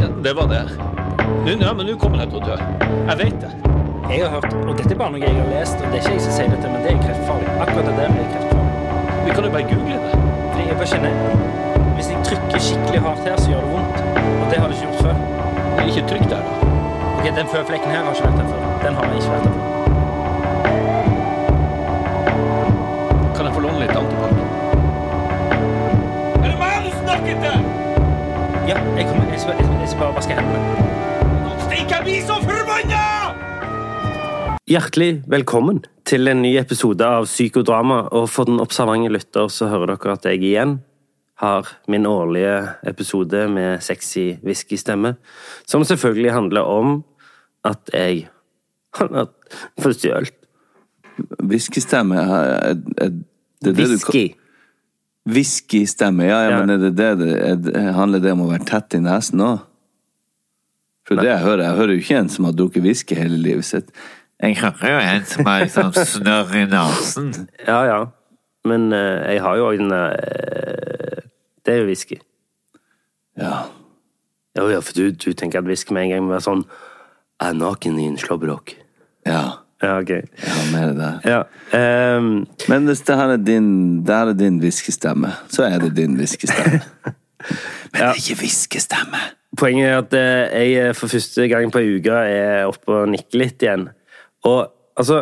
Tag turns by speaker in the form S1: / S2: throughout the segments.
S1: Ja, det var det. Nå, ja, men nå kommer jeg til å dø. Jeg vet det.
S2: Jeg har hørt, og dette er bare noe jeg har lest, og det er ikke jeg som sier dette, men det er kreftfarlig. Akkurat det der blir kreftfarlig.
S1: Vi kan jo bare google det.
S2: Fordi jeg bare kjenner, hvis jeg trykker skikkelig hardt her, så gjør det vondt. Og det har det ikke gjort før.
S1: Det er ikke trygt der, da.
S2: Ok, den føflekken her har ikke vært der før. Den har jeg ikke vært der før.
S1: Kan jeg få låne litt antibac? Er det meg du snakker til?
S2: Ja, jeg kommer, jeg skal, jeg skal, jeg skal bare vaske hendene.
S1: Nå stikker jeg blir så forbanna!
S3: Hjertelig velkommen til en ny episode av Psykodrama. Og for den observante lytter så hører dere at jeg igjen har min årlige episode med sexy whiskystemme. Som selvfølgelig handler om at jeg Han har fått stjålet
S4: Whiskystemme er- er- er- Det er det du
S3: whisky.
S4: Whiskystemme, ja, ja,
S3: Ja.
S4: men er det det det er det- Handler det om å være tett i nesen òg? For det jeg hører, jeg hører jo ikke en som har drukket whisky hele livet sitt.
S5: Jeg hører jo en som har liksom snørr i nesen.
S3: Ja, ja. Men eh, jeg har jo òg den der eh, Det er jo whisky.
S4: Ja.
S3: Ja, ja, for du, du tenker at whisky med en gang må være sånn Er naken i en slåbrok.
S4: Ja.
S3: Ja, ok.
S4: ja mer det.
S3: Ja. ehm,
S4: Men hvis det her er din Der er din whiskystemme, så er det din whiskystemme. Men det er ikke whiskystemme!
S3: Poenget er at eh, jeg eh, for første gang på ei uke er oppe og nikker litt igjen. Og altså,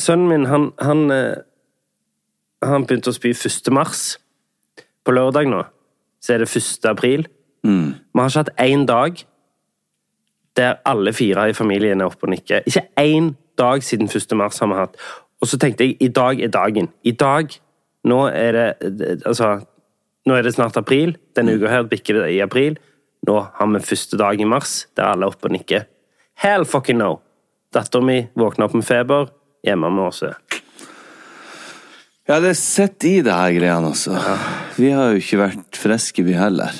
S3: sønnen min, han, han eh, Han begynte å spy 1. mars. På lørdag nå så er det 1. april. Vi har ikke hatt én dag der alle fire i familien er oppe og nikker. Ikke én dag siden 1. mars har vi hatt. Og så tenkte jeg i dag er dagen. I dag, nå er det Altså, nå er det snart april. Denne uka her bikker det i april. Nå har vi første dag i mars der alle er oppe og nikker. Hell fucking no! Dattera mi våkna opp med feber. Hjemme med oss.
S4: Ja, det sitter i det her greiene, altså. Vi har jo ikke vært friske, vi heller.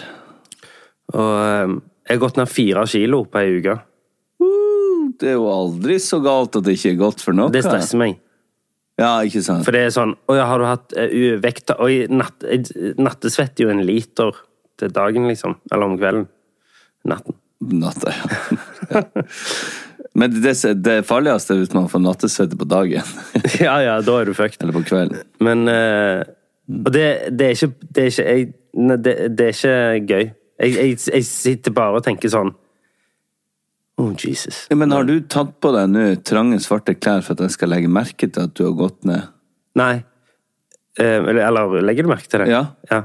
S3: Og eh, jeg har gått ned fire kilo på ei uke.
S4: Det er jo aldri så galt at det ikke er godt for noe.
S3: Det stresser meg.
S4: Ja, ikke sant?
S3: For det er sånn Å ja, har du hatt eh, u- vekt Oi, natt, eh, nattesvett er jo en liter til dagen, liksom. Eller om kvelden. Natten.
S4: Natta, ja. Men det, det farligste er hvis man får nattesvette på dagen.
S3: ja, ja, da er du fucked.
S4: Eller på kvelden.
S3: Men eh, Og det, det er ikke Det er ikke, jeg, ne- det, det er ikke gøy. Jeg, jeg, jeg sitter bare og tenker sånn Oh, Jesus.
S4: Ja, men har du tatt på deg nå trange, svarte klær for at jeg skal legge merke til at du har gått ned?
S3: Nei. Eh, eller, eller legger du merke til det?
S4: Ja.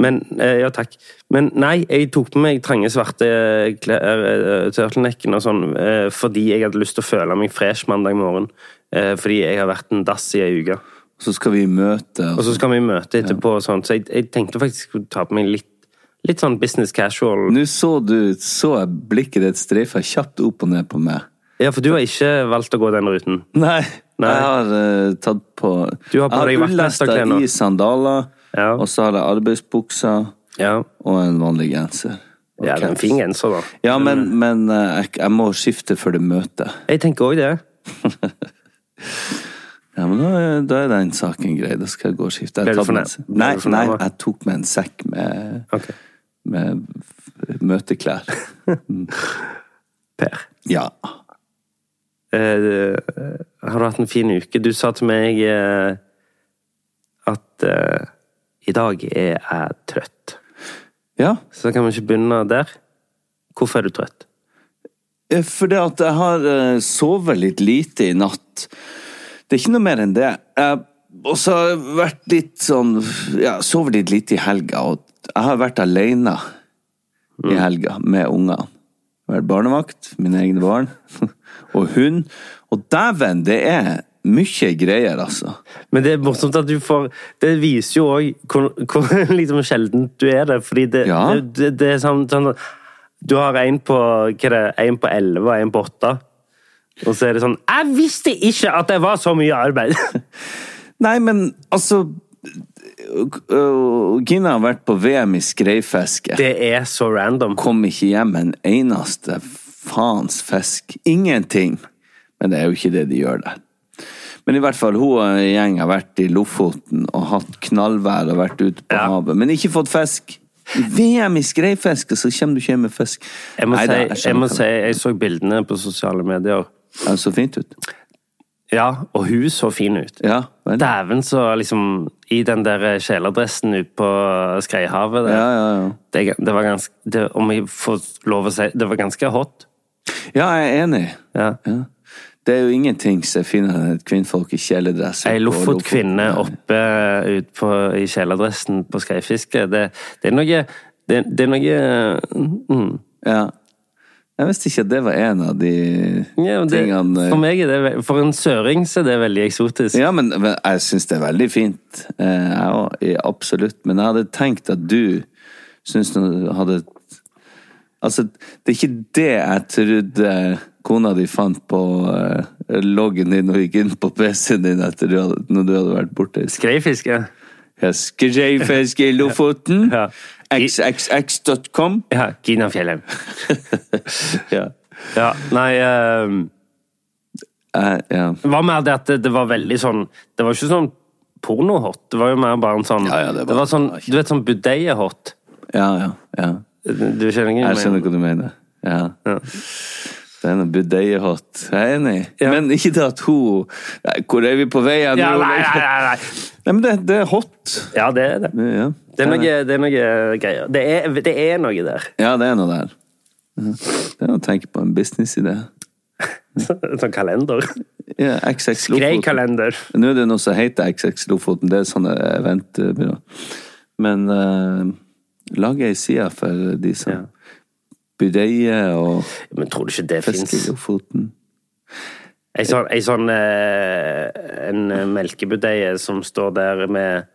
S3: Men, eh, ja, takk. Men nei, jeg tok på meg trange, svarte eh, klær, eh, turtlenecken og sånn, eh, fordi jeg hadde lyst til å føle meg fresh mandag morgen. Eh, fordi jeg har vært en dass i ei uke.
S4: Og så skal vi i møte
S3: Og
S4: og
S3: så skal vi møte etterpå, og sånt, så jeg, jeg tenkte faktisk å ta på meg litt, litt sånn business casual.
S4: Nå så du så jeg blikket ditt streifa kjapt opp og ned på meg.
S3: Ja, for du har ikke valgt å gå den ruten.
S4: Nei.
S3: Nei.
S4: Jeg har eh, tatt på
S3: Du har på deg
S4: Jeg har
S3: vaktmesterklær nå.
S4: i sandaler,
S3: Ja.
S4: og så har jeg arbeidsbukser
S3: Ja,
S4: og en vanlig genser. Og
S3: ja det er en
S4: caps.
S3: fin genser, da.
S4: Ja, men, men eh, jeg, jeg må skifte før det møtet.
S3: Jeg tenker òg det.
S4: Ja, men da, er- da er den saken grei. Da skal jeg gå og skifte.
S3: Ble
S4: Jeg
S3: du
S4: tar med en
S3: fornær-
S4: se-
S3: ble
S4: Nei,
S3: du fornærmet?
S4: nei, jeg tok med en sekk med,
S3: Ok.
S4: med f- møteklær. Mm.
S3: Per.
S4: Ja.
S3: Eh, har du har hatt en fin uke. Du sa til meg eh, at eh, i dag er jeg trøtt.
S4: Ja,
S3: Så da kan vi ikke begynne der. Hvorfor er du trøtt?
S4: eh, for det at jeg har eh, sovet litt lite i natt. Det er ikke noe mer enn det. Jeg- Og så har jeg vært litt sånn Ja, sovet litt lite i helga, og jeg har vært alene i helga med ungene. Vært barnevakt, mine egne barn, og hund. Og dæven, det er mye greier, altså.
S3: Men det er morsomt at du får Det viser jo òg hvor, hvor liksom sjeldent du er det. Fordi det,
S4: Ja.
S3: det, det, det er sånn, sånn Du har en på hva er det, en på elleve og en på åtte. Og så er det sånn Jeg visste ikke at det var så mye arbeid!
S4: Nei, men altså øh, Gina har vært på VM i skreifiske.
S3: Det er så random.
S4: Kom ikke hjem med en eneste faens fisk. Ingenting. Men det er jo ikke det de gjør der. Men i hvert fall, hun og en gjeng har vært i Lofoten og hatt knallvær og vært ute på
S3: Ja.
S4: havet, men ikke fått fisk. I VM i skreifiske, så kommer du ikke hjem med fisk.
S3: Jeg må,
S4: Neida,
S3: si, jeg,
S4: skjønner
S3: må
S4: hva
S3: si, jeg så bildene på sosiale medier.
S4: Det Det så fint ut.
S3: Ja, og hun så fin ut.
S4: Ja, vel.
S3: Dæven, så liksom I den der kjeledressen ute på Skreihavet der.
S4: Ja, ja, ja.
S3: Det, det var ganske det, Om jeg får lov å si Det var ganske hot.
S4: ja, jeg er enig.
S3: Ja.
S4: Ja. Det er jo ingenting som er finere enn et kvinnfolk i kjeledress.
S3: Ei Lofot-kvinne
S4: Nei.
S3: oppe ut på, i kjeledressen på skreifiske. Det, det er noe det, det er noe mm,
S4: Ja. Jeg visste ikke at det var en av de
S3: ja, men det,
S4: tingene
S3: For meg er det ve- For en søring så er det veldig eksotisk.
S4: eh, Ja, men men jeg syns det er veldig fint. Eh, Jeg òg, i- absolutt. Men jeg hadde tenkt at du syns du hadde Altså, det er ikke det jeg trodde kona di fant på eh, loggen din og gikk inn på PC-en din etter du hadde, når du hadde vært borte.
S3: Skreifiske?
S4: Skreifisk i Lofoten.
S3: Ja.
S4: XXX.com.
S3: Ja. Gina Fjellheim.
S4: Ja.
S3: Ja, nei eh,
S4: Jeg- Eh, ja.
S3: Hva med det at det, det var veldig sånn Det var ikke sånn porno-hot. Det var jo mer bare en sånn
S4: Ja, ja, det
S3: det,
S4: var-
S3: var sånn Du vet sånn budeie-hot.
S4: Ja, ja, ja.
S3: Du skjønner ikke hva
S4: Jeg skjønner hva du mener. Ja.
S3: Ja.
S4: Det er noe budeie-hot. Jeg er enig.
S3: Ja.
S4: Men ikke det at hun Nei, Hvor er vi på vei hen?
S3: Ja,
S4: nå?
S3: nei, nei, nei, nei.
S4: Nei, men det, det er hot.
S3: ja, det er det.
S4: Ja.
S3: Det er noe, det er noe greier. Det er, det er noe der.
S4: Ja, det er noe der. Ja. Det er noe å tenke på. En businessidé.
S3: Sånn kalender.
S4: Ja, XX Lofoten.
S3: Grei-kalender.
S4: Nå er det noe som heter XX Lofoten. Det er sånne eventbyrå. Men eh, lag ei side for de som
S3: Ja.
S4: Budeie og
S3: Men tror du ikke det fins?
S4: fiske i Lofoten.
S3: Ei sånn, ei sånn eh, En melkebudeie som står der med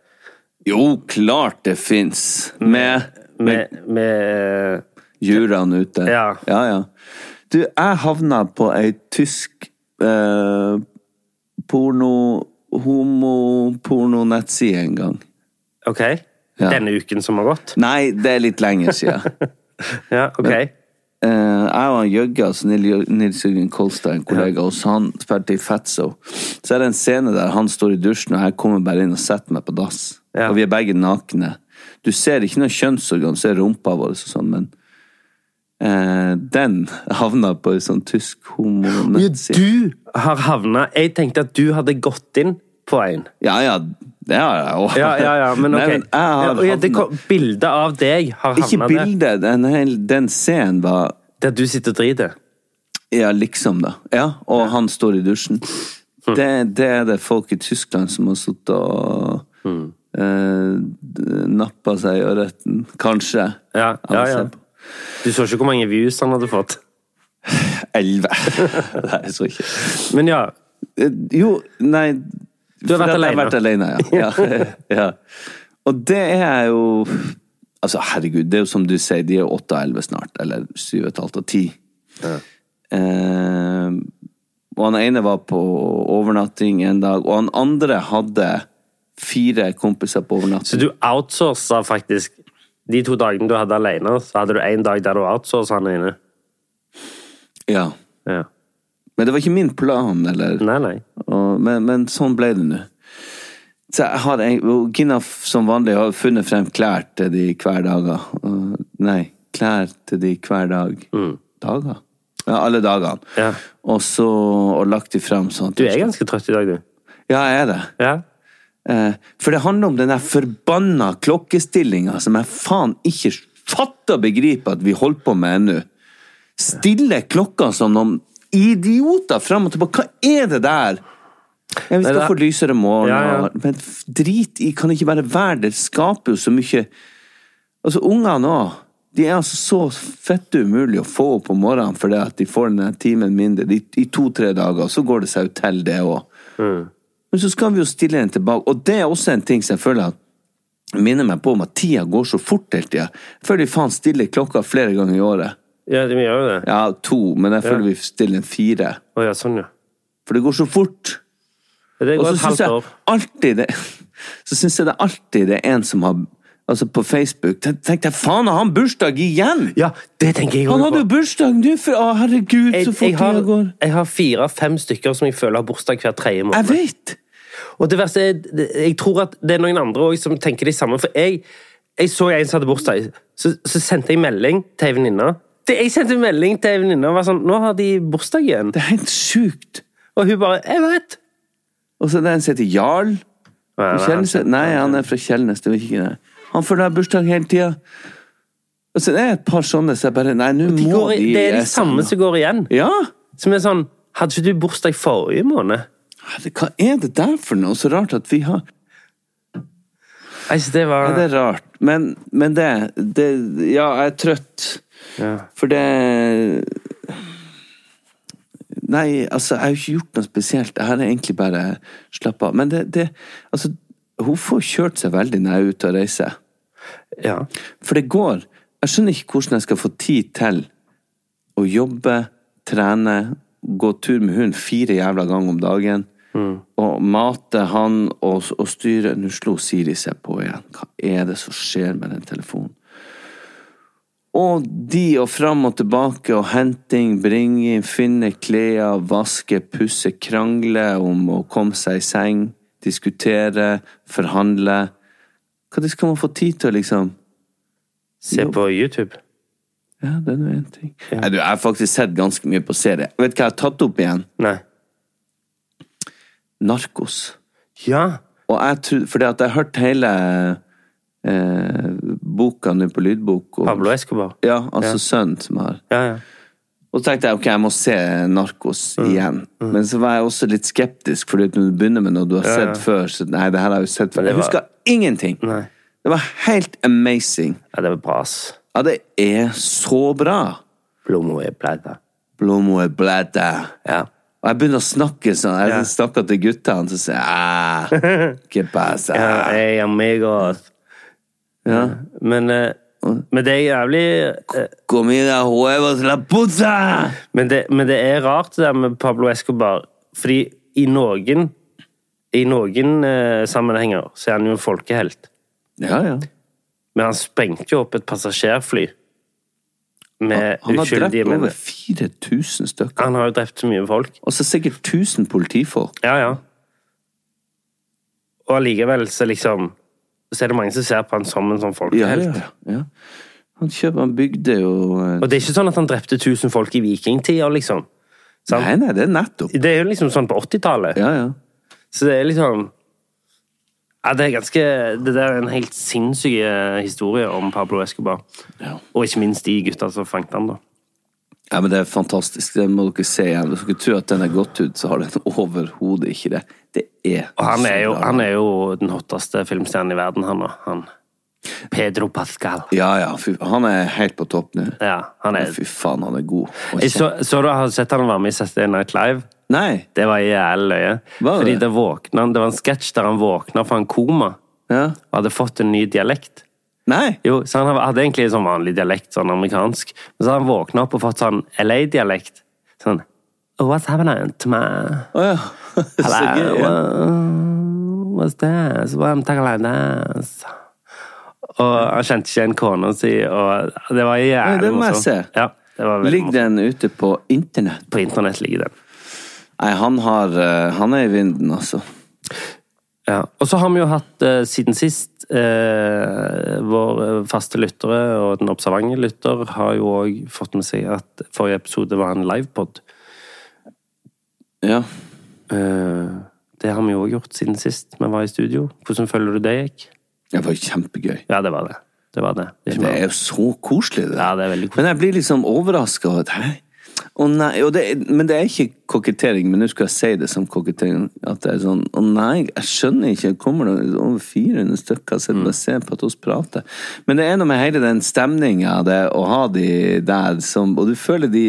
S4: Jo, klart det fins! Med
S3: Med, med eh,
S4: Juraen ute.
S3: Ja.
S4: ja, ja. Du, jeg havna på ei tysk eh, porno homoporno-nettside en gang.
S3: OK?
S4: Ja.
S3: Denne uken som har gått?
S4: Nei, det er litt lenger sia.
S3: Ja, OK.
S4: Eh, jeg og han Jøgga, altså Nil- Jø- Nils Jørgen Kolstad, en kollega hos han, spilte i Fatso. Så er det en scene der han står i dusjen, og jeg kommer bare inn og setter meg på dass.
S3: Ja.
S4: Og vi er begge nakne. Du ser ikke noe kjønnsorgan, du ser rumpa vår og sånn, men eh, den havna på en sånn tysk homonettside.
S3: Du har havna Jeg tenkte at du hadde gått inn på en.
S4: Ja, ja, det har jeg òg.
S3: Ja, ja, ja, men ok.
S4: Nei, men jeg har
S3: Ja, og ja, det
S4: havnet-
S3: kom- bildet av deg har
S4: Ikke
S3: havna der.
S4: bildet, den, hel- den scenen var
S3: Der du sitter og driter.
S4: Ja, liksom, da. Ja, og han står i dusjen.
S3: Mm.
S4: Det, det er det folk i Tyskland som har sittet og
S3: Mm.
S4: eh, nappa seg i ørreten. Kanskje.
S3: Ja, ja, ja.
S4: Han ser på.
S3: Du så ikke hvor mange views han hadde fått.
S4: Elleve. nei, jeg så ikke.
S3: Men ja,
S4: Eh, Jo, nei Du
S3: har vært
S4: Jeg har vært alene, ja. ja. ja. Og det er jo Altså, herregud, det er jo som du sier, de er åtte og elleve snart. Eller syv og et halvt og ti. Eh, og han ene var på overnatting en dag, og han andre hadde fire kompiser på
S3: så
S4: overnatting.
S3: du outsourca faktisk De to dagene du hadde alene, så hadde du én dag der du outsourca han inne.
S4: Ja.
S3: Ja.
S4: Men det var ikke min plan, eller
S3: Nei, nei.
S4: Og, men, men sånn ble det nå. Så jeg har en, og Gina f- som vanlig har funnet frem klær til de hver dag. Nei, klær til de hver dag. Dager? Ja, alle dagene.
S3: Mm. Ja.
S4: Og så og lagt de frem sånn. at-
S3: Du er ganske trøtt i dag, du.
S4: Ja, jeg er det.
S3: Ja.
S4: Eh, For det handler om den der forbanna klokkestillinga som jeg faen ikke fatter og begriper at vi holder på med ennå. Stille klokka som noen idioter fram og tilbake. Hva er det der? Ja, vi skal
S3: det-
S4: få lysere morgen,
S3: Ja, ja.
S4: og- men f- drit i kan det ikke være vær det. skaper jo så mye Altså, ungene òg. De er altså så fette umulig å få opp om morgenen fordi at de får den der timen mindre de, i to-tre dager, så går det seg jo til, det òg. Men så skal vi jo stille den tilbake, og det er også en ting som jeg føler at minner meg på om at tida går så fort hele tida. Jeg føler vi faen stiller klokka flere ganger i året.
S3: Ja, vi gjør jo det.
S4: Ja, to, men jeg føler vi stiller en fire.
S3: Å ja, sånn, ja.
S4: For det går så fort.
S3: Det
S4: Og
S3: går
S4: så
S3: et halvt
S4: syns jeg
S3: år.
S4: alltid det Så syns jeg det alltid det er en som har Altså på Facebook ten- tenkte jeg faen, har han bursdag igjen?!
S3: Ja, det tenker jeg
S4: Han hadde jo bursdag nå, for å herregud,
S3: Jeg,
S4: så
S3: jeg
S4: fort
S3: har,
S4: tida går.
S3: jeg har fire-fem stykker som jeg føler har bursdag hver tredje måned.
S4: Jeg vet!
S3: Og det verste er, det- jeg tror at det er noen andre også som tenker det samme. For jeg, jeg så en som hadde bursdag, så, så sendte jeg melding til ei venninne. Det- Jeg sendte en melding til ei venninne og var sånn 'Nå har de bursdag igjen.'
S4: Det er helt sjukt.
S3: Og hun bare 'Jeg vet'.
S4: Og så er det en som heter Jarl. Fra Kjellnes? Nei, han er fra Kjellnes. Det var ikke det. Han føler jeg har bursdag hele tida. Og så det er et par sånne som jeg bare Nei, nå
S3: De
S4: må
S3: går, i-
S4: de
S3: det er de
S4: eh,
S3: samme som går igjen.
S4: Ja!
S3: Som er sånn 'Hadde ikke du bursdag forrige måned?'
S4: Herre, Hva er det der for noe? Så rart at vi har
S3: Nei, så det
S4: Ja,
S3: var
S4: det er rart. Men, men det, det Ja, jeg er trøtt.
S3: Ja.
S4: For det Nei, altså, jeg har jo ikke gjort noe spesielt. Jeg har egentlig bare slappa av. Men det, det Altså, hun får kjørt seg veldig når jeg er ute og reiser.
S3: Ja.
S4: For det går. Jeg skjønner ikke hvordan jeg skal få tid til å jobbe, trene, gå tur med hund fire jævla ganger om dagen. Og mate han og, og styre Nå slo Siri seg på igjen. Hva er det som skjer med den telefonen? Og de og fram og tilbake og henting, bringe inn, finne klær, vaske, pusse, krangle om å komme seg i seng, diskutere, forhandle. Når skal man få tid til å liksom
S3: Se på YouTube.
S4: ja, det er nå én ting. Nei, du, jeg har faktisk sett ganske mye på serie. Vet du hva jeg har tatt opp igjen?
S3: Nei.
S4: Narkos.
S3: Ja.
S4: Og jeg tror, fordi at jeg har hørt hele eh, boka nå på lydbok. Og,
S3: Pablo Escobar.
S4: Ja, altså sønnen som har
S3: Ja, ja.
S4: Og så tenkte jeg ok, jeg må se Narkos
S3: Mm.
S4: igjen. Men så var jeg også litt skeptisk, Fordi at når du begynner med noe du har sett før så, Nei, det her har jeg jo sett før.
S3: det
S4: Jeg
S3: var-
S4: husker ingenting!
S3: Nei.
S4: Det var helt amazing.
S3: ja det var bra, ass.
S4: Ja, det er så bra!
S3: Blommo er pleida.
S4: Blomo er blæta.
S3: Ja.
S4: Og jeg begynner å snakke sånn. Jeg
S3: Ja.
S4: snakker til guttene, så sier jeg «Ah, ¿Qué pasa?
S3: Ja, jeg er amigos. Men, eh, men det er jævlig eh,
S4: Comida huevos la puzza!
S3: men det, men det er rart det der med Pablo Escobar. Fordi i noen i noen eh, sammenhenger så er han jo en folkehelt.
S4: Ja, ja.
S3: Men han sprengte jo opp et passasjerfly med
S4: Han har drept
S3: Eh, uskyldige
S4: over
S3: mennesker.
S4: 4000 stykker.
S3: Han har jo drept så mye folk.
S4: Og så sikkert 1000 politifolk.
S3: Ja, ja. Og allikevel så liksom Så er det mange som ser på han som en sånn
S4: Ja,
S3: folkehelt.
S4: ja, ja. Han kjøper, han bygde jo eh,
S3: Og det er ikke sånn at han drepte 1000 folk i vikingtida, liksom. sant?
S4: Nei, nei, det er nettopp.
S3: Det er jo liksom sånn på 80-tallet.
S4: Ja, ja.
S3: Så det er liksom ja, det er ganske Det der er en helt sinnssyk eh, historie om Pablo Escobar.
S4: Ja.
S3: Og ikke minst de gutta som fanget han, da.
S4: Ja, men Det er fantastisk. Det må dere se igjen. Hvis dere tror at den er godt ut, så har den overhodet ikke det. Det er
S3: Og han
S4: så
S3: er jo,
S4: bra.
S3: han er jo den hotteste filmstjernen i verden, han òg. Han. Pedro Pascal.
S4: Ja, ja. Fy, han er helt på topp nå.
S3: Ja, han er
S4: Fy faen, han er god. Og
S3: jeg så, så du har sett han var med i Saturday Night Live?
S4: Nei.
S3: Det var jævlig løye.
S4: Var det?
S3: Fordi da våkna han, Det var en sketsj der han våkna fra en koma
S4: Ja.
S3: og hadde fått en ny dialekt.
S4: Nei.
S3: Jo, så han hadde egentlig en sånn vanlig dialekt, sånn amerikansk. Men så har han våkna opp og fått sånn LA-dialekt. Sånn oh, What's happening to my
S4: Å ja. Så
S3: Hello,
S4: gøy. Ja.
S3: uh, what's this? Why I'm talking like this? Og han kjente ikke igjen kona si, og det var
S4: Nei,
S3: jævlig
S4: det må jeg se.
S3: Ja, det var veldig
S4: Ligger
S3: morsomt.
S4: den ute på internett?
S3: På internett ligger den.
S4: Nei, han har eh, Han er i vinden, altså.
S3: Ja. Og så har vi jo hatt eh, siden sist eh, Våre faste lyttere og den observante lytter har jo òg fått med seg at forrige episode var en livepod.
S4: Ja.
S3: Eh, det har vi jo òg gjort siden sist vi var i studio. Hvordan føler du det gikk?
S4: Det var jo kjempegøy.
S3: Ja, det var det. Det var det. det, er ikke
S4: Det
S3: mer.
S4: er jo så koselig, det.
S3: Ja, det er veldig koselig.
S4: Men jeg blir liksom overraska over at Hæ? Å nei, og det, men det er ikke kokettering, men nå skal jeg si det som kokettering. At det er sånn Å nei, jeg skjønner ikke. Kommer det over 400 stykker, så jeg bare ser på at oss prater. Men det er noe med hele den stemninga, det å ha de der som Og du føler de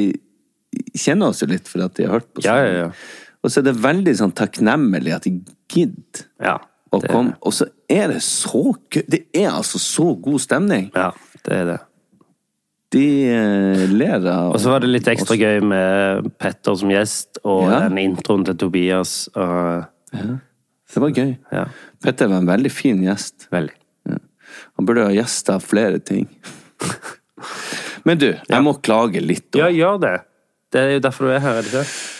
S4: kjenner oss jo litt for at de har hørt på sånn.
S3: Ja, ja, ja.
S4: Og så er det veldig sånn takknemlig at de gidder.
S3: Ja,
S4: å
S3: det-
S4: komme. Og så er det så gøy. Det er altså så god stemning.
S3: Ja, det er det.
S4: De eh, ler av
S3: Og så var det litt ekstra gøy med Petter som gjest, og
S4: Ja.
S3: den introen til Tobias. Og,
S4: Det var gøy.
S3: ja,
S4: Petter var en veldig fin gjest.
S3: veldig.
S4: Ja. Han burde ha gjesta flere ting. Men du, jeg må klage litt.
S3: Ja,
S4: da.
S3: gjør det. Det er jo derfor du er her, er det ikke?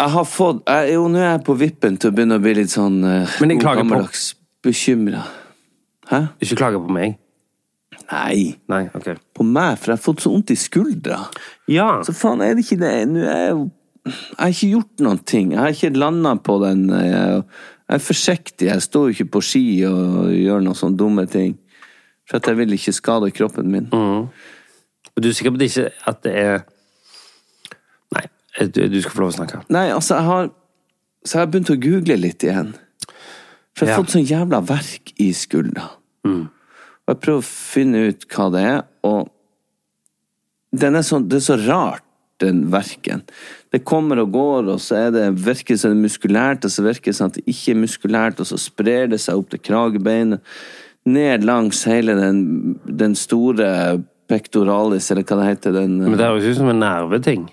S4: Jeg har fått jeg, Jo, nå er jeg på vippen til å begynne å bli litt sånn eh,
S3: Men jeg klager på-
S4: bekymra. Hæ?
S3: Ikke klage på meg.
S4: Nei.
S3: Nei, ok.
S4: På meg, for jeg har fått så vondt i skuldra.
S3: Ja.
S4: Så faen, er det ikke det? Nå er jeg jo Jeg har ikke gjort noen ting. Jeg har ikke landa på den eh, Jeg er forsiktig. Jeg står jo ikke på ski og gjør noen sånne dumme ting. For at jeg vil ikke skade kroppen min.
S3: Og du er sikker på at det ikke at det er Nei, du, du skal få lov å snakke.
S4: Nei, altså, jeg har Så jeg har begynt å google litt igjen. For jeg har
S3: Ja.
S4: fått sånn jævla verk i skuldra. Og jeg prøver å finne ut hva det er, og den er så, det er så rart, den verken. Det kommer og går, og så er det, virker det som det er muskulært, og så virker det som at det ikke er muskulært, og så sprer det seg opp til kragebeinet, ned langs hele den, den store pectoralis, eller hva det heter, den
S3: Men det høres ut som en nerveting.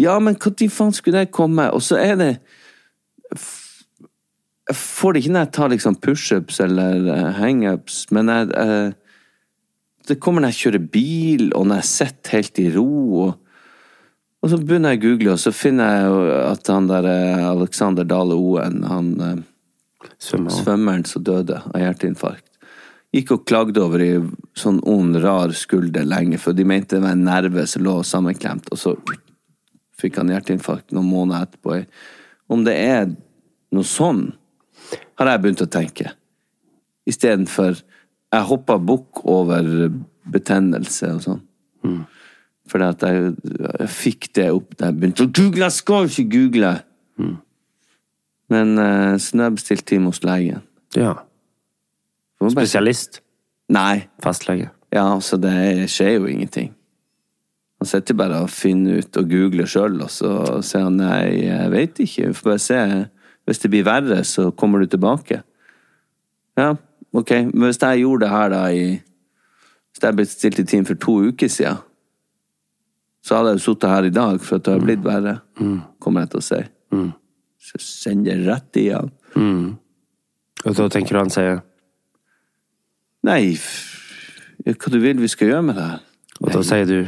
S4: ja, men når faen skulle det komme? Og så er det Jeg får det ikke når jeg tar liksom pushups eller eh, hangups, men jeg, eh, Det kommer når jeg kjører bil, og når jeg sitter helt i ro. Og, og så begynner jeg å google, og så finner jeg jo at han der eh, Alexander Dale Oen, han eh,
S3: Svømmer.
S4: svømmeren som døde av hjerteinfarkt, gikk og klagde over ei sånn ond, rar skulder lenge, for de mente det var en nerve som lå sammenklemt, og så fikk han hjerteinfarkt noen måneder etterpå. Om det er noe sånn, har jeg begynt å tenke. Istedenfor Jeg hoppa bukk over betennelse og sånn. Fordi at jeg, jeg fikk det opp da jeg begynte å google. Jeg skal ikke google! Men eh, så nå har jeg bestilt time hos legen.
S3: Ja.
S4: Må bare-
S3: Spesialist.
S4: Nei.
S3: Fastlege.
S4: Ja, altså, det skjer jo ingenting. Han sitter bare og finner ut og googler sjøl, og så sier han nei, jeg veit ikke, vi får bare se. Hvis det blir verre, så kommer du tilbake. Ja, ok, men hvis jeg gjorde det her da i Hvis jeg ble stilt i time for to uker siden, så hadde jeg jo sittet her i dag for at det har blitt verre, kommer jeg til å si. Så send det rett i han.
S3: Og da tenker du han sier
S4: Nei, f- ja, hva du vil vi skal gjøre med det her?
S3: Og da sier du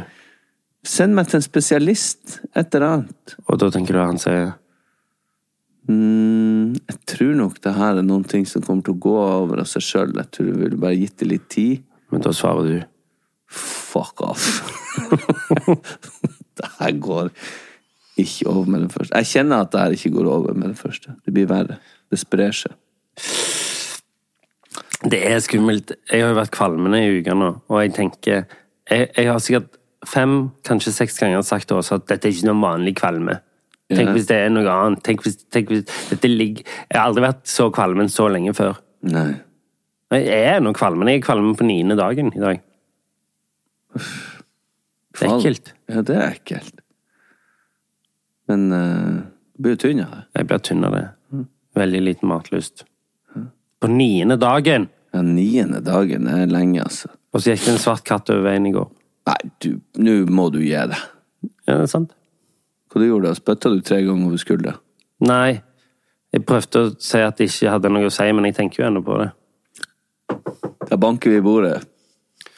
S4: Send meg til en spesialist, et eller annet.
S3: Og da tenker du han sier
S4: Mm, jeg tror nok det her er noen ting som kommer til å gå over av seg sjøl. Jeg tror du ville bare gitt det litt tid.
S3: Men da svarer du
S4: Fuck off. det her går ikke over med det første. Jeg kjenner at det her ikke går over med det første. Det blir verre. Det sprer seg.
S3: Det er skummelt. Jeg har jo vært kvalmende i uka nå, og jeg tenker jeg, jeg har sikkert fem, kanskje seks ganger sagt til Åse at dette er ikke noen vanlig kvalme. Tenk
S4: Ja.
S3: hvis det er noe annet. Tenk hvis, tenk hvis dette ligger Jeg har aldri vært så kvalmen så lenge før.
S4: Nei.
S3: Jeg er nå kvalmen. Jeg er kvalmen på niende dagen i dag. Det er
S4: Faen.
S3: ekkelt.
S4: Ja, det er ekkelt. Men eh, du blir jo tynn av det.
S3: Jeg blir tynn av det.
S4: Mm.
S3: Veldig liten matlyst. På niende dagen!
S4: Ja, niende dagen er lenge, altså.
S3: Og så gikk det en svart katt over veien i går.
S4: Nei, du, nå må du gi deg.
S3: Ja, det er sant.
S4: Hva du gjorde da? Spytta du tre ganger over skuldra?
S3: Nei. Jeg prøvde å si at det ikke hadde noe å si, men jeg tenker jo ennå på det.
S4: Da banker vi i bordet.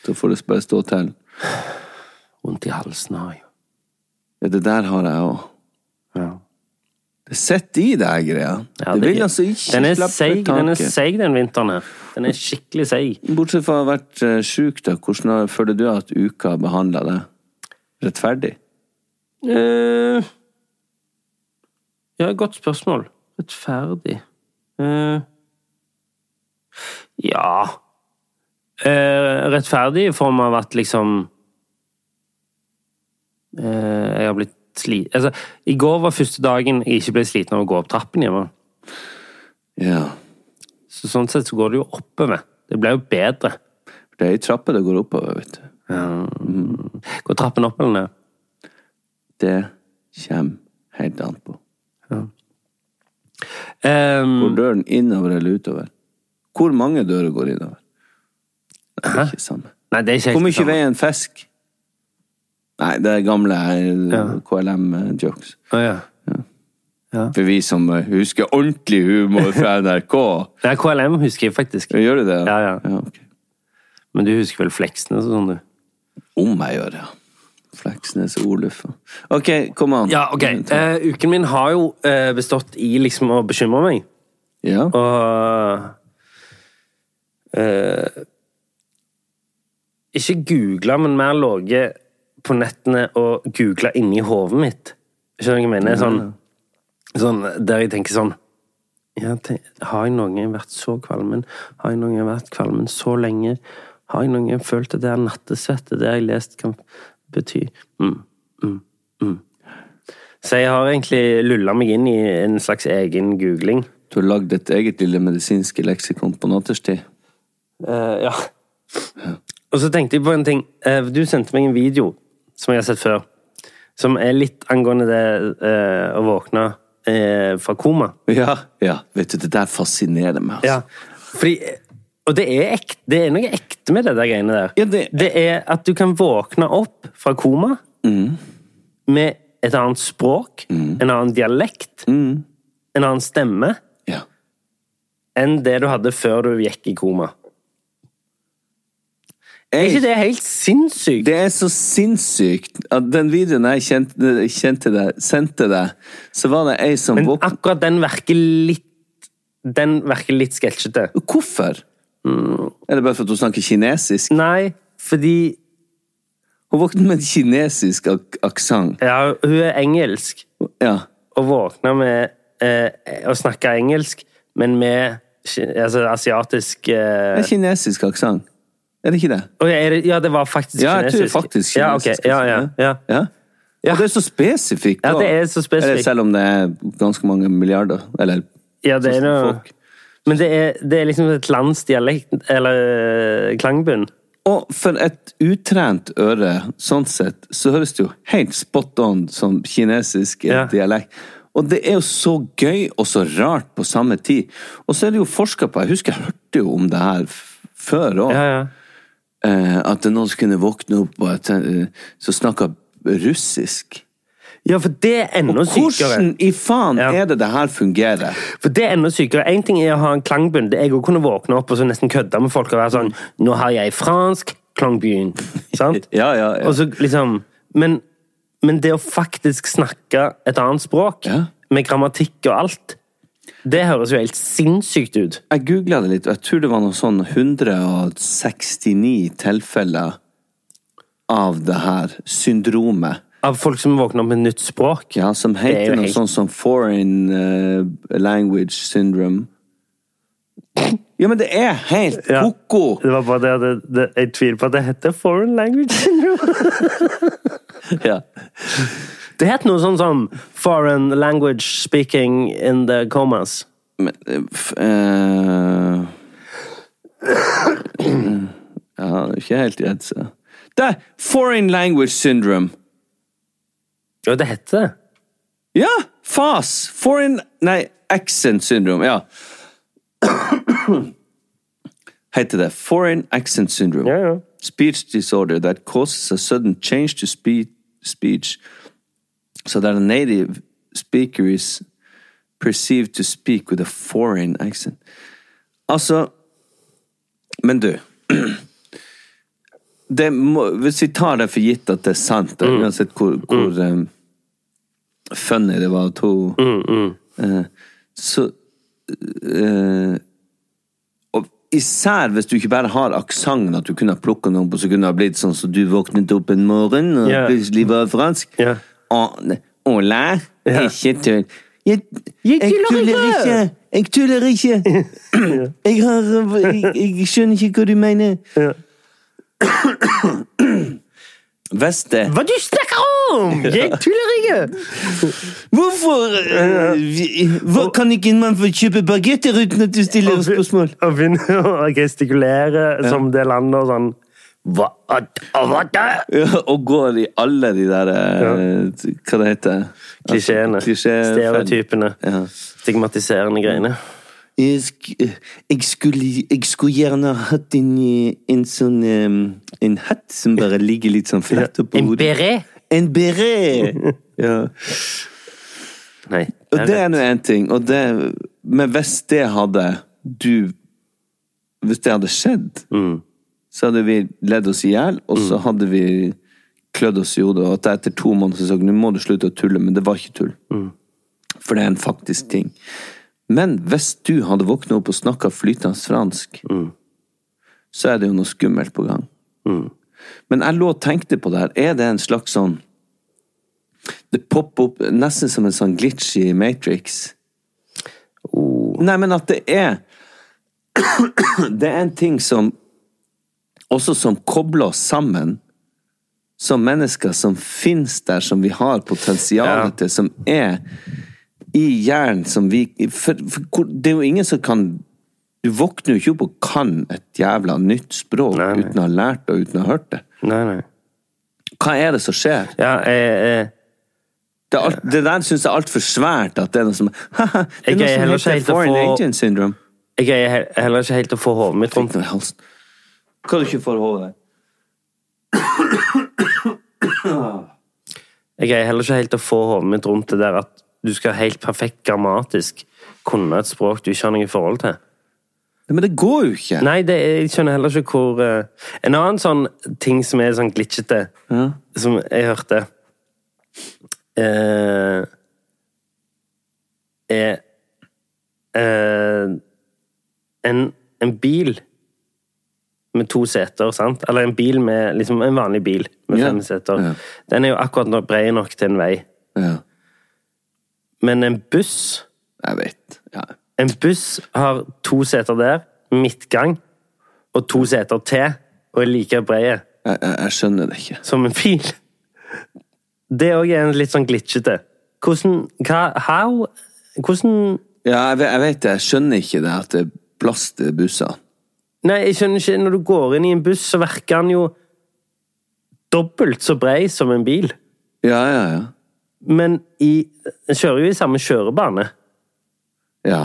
S4: Så får det bare stå til.
S3: Vondt i halsen har jeg jo.
S4: Ja, det der har jeg òg.
S3: Ja.
S4: Det sitter i deg, greia.
S3: Ja,
S4: det,
S3: det-
S4: vil altså ikke
S3: den er
S4: slippe
S3: seig, Den er
S4: taket.
S3: seig, den vinteren her. Den er skikkelig seig.
S4: Bortsett fra å ha vært eh, sjuk, da. Hvordan har- føler du at uka har behandla deg? Rettferdig?
S3: Eh, ja, godt spørsmål. Rettferdig Eh, Ja Eh, Rettferdig i form av at liksom eh, Jeg har blitt sliten altså, I går var første dagen jeg ikke ble sliten av å gå opp trappen hjemme.
S4: Ja.
S3: Så sånn sett så går det jo oppover. Det ble jo bedre.
S4: Det er ei trappe det går oppover, vet du.
S3: Går trappen opp eller ned?
S4: Det kommer helt an på.
S3: Um,
S4: Går døren innover eller utover? Hvor mange dører går innover? Nei, det er ikke samme.
S3: nei, det er ikke helt
S4: Hvor
S3: det
S4: mye
S3: samme.
S4: veier en fisk? Nei, det er gamle eh, KLM-jokes.
S3: Å, ja.
S4: For vi som eh, husker ordentlig humor fra NRK.
S3: Nei, KLM husker jeg faktisk.
S4: Gjør du det?
S3: Ja, ja.
S4: ok.
S3: Men du husker vel Fleksnes og sånn, du?
S4: Om jeg gjør det, ja. Fleksnes og Oluf. ja. Ok, kom an.
S3: Ja, ok. Eh, uken min har jo eh, bestått i liksom å bekymre meg.
S4: Ja.
S3: Og eh, Ikke google, men mer ligget på nettene og googla inni hodet mitt. Skjønner du hva jeg mener? Sånn, sånn, der jeg tenker sånn ja, tenk, Har jeg noen gang vært så kvalmen? Har jeg noen gang vært kvalmen så lenge? Har jeg noen gang følt at det er nattesvette? Det jeg har lest, kan bety mm, mm, mm. Så jeg har egentlig lulla meg inn i en slags egen googling.
S4: Du har lagd et eget lille medisinske leksikon på natterstid.
S3: Eh, ja. Og så tenkte jeg på en ting. Eh, Du sendte meg en video som jeg har sett før, som er litt angående det eh, å våkne eh, fra koma.
S4: Ja, ja. Vet du, det der fascinerer meg, altså.
S3: Ja. Fordi, og det er, ek, det er noe ekte med det der greiene der.
S4: Ja, det-
S3: er at du kan våkne opp fra koma
S4: Mm.
S3: med et annet språk, en annen dialekt,
S4: Mm.
S3: en annen stemme,
S4: Ja.
S3: enn det du hadde før du gikk i koma. Er
S4: Jeg,
S3: ikke det helt sinnssykt?
S4: det er så sinnssykt at den videoen jeg kjente, kjente deg, sendte deg, så var det ei som
S3: Men
S4: våkna
S3: akkurat den verker litt Den verker litt sketsjete.
S4: Hvorfor? Er det Mm. bare for at hun snakker kinesisk?
S3: Nei, fordi
S4: Hun våkner med en kinesisk ak aksent.
S3: ja, hun er engelsk
S4: Ja.
S3: og våkner med eh, å snakke engelsk, men med ki- altså, asiatisk eh,
S4: Det er kinesisk aksent. Er det ikke det?
S3: Å, ja, er det, Ja, det var faktisk
S4: Ja, jeg tror
S3: kinesisk.
S4: det er faktisk
S3: Ja, ok,
S4: kinesisk. liksom,
S3: ja, ja, ja.
S4: Ja.
S3: Ja.
S4: Og det er så spesifikt.
S3: Ja,
S4: da.
S3: det er så spesifikt.
S4: Eller selv om det er ganske mange milliarder. Eller
S3: Ja, det er noe
S4: Sånn folk.
S3: Men det er, det er liksom et lands dialekt, eller eh, klangbunn.
S4: Og for et utrent øre, sånn sett, så høres det jo helt spot on som kinesisk eh,
S3: Ja.
S4: dialekt. Og det er jo så gøy og så rart på samme tid. Og så er det jo forska på, jeg husker jeg hørte jo om det her f- før òg,
S3: Ja, ja.
S4: eh, at det er noen som kunne våkne opp og at, eh, så snakka russisk.
S3: ja, for det er enda sykere.
S4: Hvordan i faen
S3: Ja.
S4: er det det her fungerer?
S3: For det er enda sykere. En ting er å ha en klangbunn. Det er å kunne våkne opp og så nesten kødde med folk og være sånn Nå har jeg fransk klangbunn. Sant?
S4: Ja, ja, ja.
S3: Og så liksom men, men det å faktisk snakke et annet språk,
S4: Ja.
S3: med grammatikk og alt, det høres jo helt sinnssykt ut.
S4: Jeg googla det litt, og jeg tror det var noe sånn 169 tilfeller av det her syndromet.
S3: Av folk som våkner opp med et nytt språk.
S4: Ja, som
S3: Det er
S4: heter
S3: jo
S4: noe
S3: helt-
S4: sånn som Foreign eh, Language Syndrome. Ja, men det er helt
S3: Ja.
S4: koko!
S3: Det var bare det, det, det Jeg tviler på at det heter foreign language syndrome.
S4: Ja.
S3: Det het noe sånn som foreign language speaking in the comas.
S4: Men eh, f- eh, Ja, det er ikke helt redd, så. Det er Foreign Language Syndrome!
S3: Jo, det heter det.
S4: Ja! FAS! Foreign Nei, accent syndrome. Ja. Heter det Foreign Accent Syndrome.
S3: Ja, ja.
S4: Speech disorder that causes a sudden change to spe- speech so that a native speaker is perceived to speak with a foreign accent. Altså Men du det må, Hvis vi tar det for gitt at det er
S3: Mm. Mm,
S4: sant, da, uansett hvor, hvor eh, funny det var at hun Eh, så eh, og Især hvis du ikke bare har aksenten, at du kunne ha plukka noen på så kunne det ha blitt sånn som du våknet opp en morgen og
S3: Ja.
S4: plutselig var fransk.
S3: Ja.
S4: Å- Ola,
S3: Ja.
S4: ikke tull. Jeg, jeg tuller ikke! Jeg tuller ikke! Jeg, har, jeg, jeg skjønner ikke hva du mener.
S3: Ja.
S4: Hvis det
S3: Hva du snakker om?! Jeg tuller ikke!
S4: Hvorfor eh, vi- Hvor kan ikke en mann få kjøpe bagetter uten at du stiller spørsmål?
S3: Og begynner å gestikulere som det landet og sånn Hva, at- hva da?
S4: Ja, og går i alle de der eh, Hva det heter
S3: Klisjeene.
S4: Altså, Klisjé-
S3: Stereotypene.
S4: Ja.
S3: Stigmatiserende greiene.
S4: Jeg, sk jeg, skulle, jeg skulle gjerne hatt en, eh, en sånn em, En hatt som bare ligger litt sånn flatt oppå
S3: En
S4: hodet.
S3: beret?
S4: En beret! ja.
S3: Nei.
S4: Og det er nå én ting, og det Men hvis det hadde du Hvis det hadde skjedd, så hadde vi ledd oss i hjel, og så hadde vi klødd oss i hodet. Og at jeg etter to måneder sa nå må du slutte å tulle, men det var ikke tull. For det er en faktisk ting. Men hvis du hadde våkna opp og snakka flytende fransk, så er det jo noe skummelt på gang. Men jeg lå og tenkte på det her. Er det en slags sånn det popper opp nesten som en sånn glitch i Matrix.
S3: Oh.
S4: Nei, men at det er Det er en ting som også som kobler oss sammen som mennesker som fins der, som vi har potensial
S3: Ja.
S4: til, som er i hjernen, som vi for, for, hvor- Det er jo ingen som kan Du våkner jo ikke opp og kan et jævla nytt språk
S3: Nei, nei.
S4: uten å ha lært det og uten å ha hørt det.
S3: Nei, nei.
S4: Hva er det som skjer?
S3: Ja, jeg, jeg,
S4: Det, er alt, det der syns jeg er altfor svært. At det er noe som Haha, Det
S3: Jeg
S4: er
S3: greier heller
S4: noe
S3: ikke
S4: som heter
S3: helt å
S4: foreign
S3: få-
S4: agent syndrome.
S3: jeg greier he- heller ikke helt å få hodet mitt rundt
S4: Fikk noe i halsen. Hva har du ikke for hodet?
S3: Jeg greier heller ikke helt å få hodet mitt rundt det der at du skal helt perfekt grammatisk kunne et språk du ikke har noe forhold til.
S4: Nei, Men det går jo ikke.
S3: Nei, det, jeg skjønner heller ikke hvor eh, En annen sånn ting som er sånn glitchete, som jeg hørte eh, Er eh, en, en bil med to seter, sant? Eller en bil med liksom en vanlig bil med
S4: Ja.
S3: fem seter.
S4: Ja.
S3: Den er jo akkurat nå bred nok til en vei.
S4: Ja,
S3: Men en buss
S4: jeg vet. Ja.
S3: En buss har to seter der, midtgang, og to seter til, og er like brede
S4: Jeg, jeg, jeg skjønner det ikke.
S3: som en bil. Det òg er en litt sånn glitchete. Hvordan hva, How? Hvordan
S4: Ja, jeg, ve- jeg vet det. Jeg skjønner ikke det at det er plass til busser.
S3: Nei, jeg skjønner ikke. Når du går inn i en buss, så virker den jo dobbelt så bred som en bil.
S4: Ja, ja, ja.
S3: Men i, den kjører jo i samme kjørebane,
S4: Ja.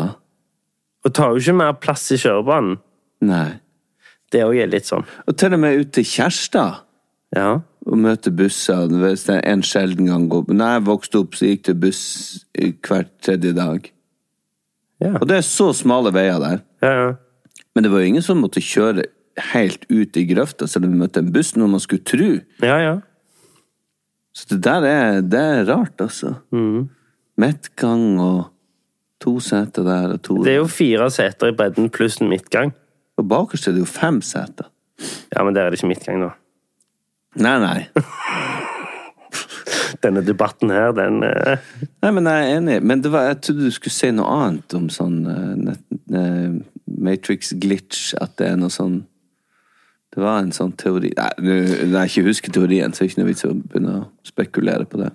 S3: og tar jo ikke mer plass i kjørebanen.
S4: Nei.
S3: Det òg er litt sånn.
S4: Og til og med ut til Kjærstad.
S3: Ja.
S4: Å møte busser hvis det er en sjelden gang går Når jeg vokste opp, så gikk det buss eh, hver tredje dag.
S3: Ja.
S4: Og det er så smale veier der.
S3: ja, ja.
S4: Men det var jo ingen som måtte kjøre helt ut i grøfta selv om vi møtte en buss, noe man skulle tro.
S3: ja, ja.
S4: Så det der er, det er rart, altså.
S3: Mm.
S4: Midtgang og to seter der og to
S3: Det er jo fire seter i bredden pluss en midtgang.
S4: Og bakerst er det jo fem seter.
S3: Ja, men der er det ikke midtgang, da.
S4: Nei, nei.
S3: Denne debatten her, den eh,
S4: nei men jeg er enig. Men det var, jeg trodde du skulle si noe annet om sånn eh, net- eh, Matrix glitch, at det er noe sånn Det var en sånn teori Nei, nå- når jeg ikke husker teorien, så er det ikke noe vits i å begynne å spekulere på det.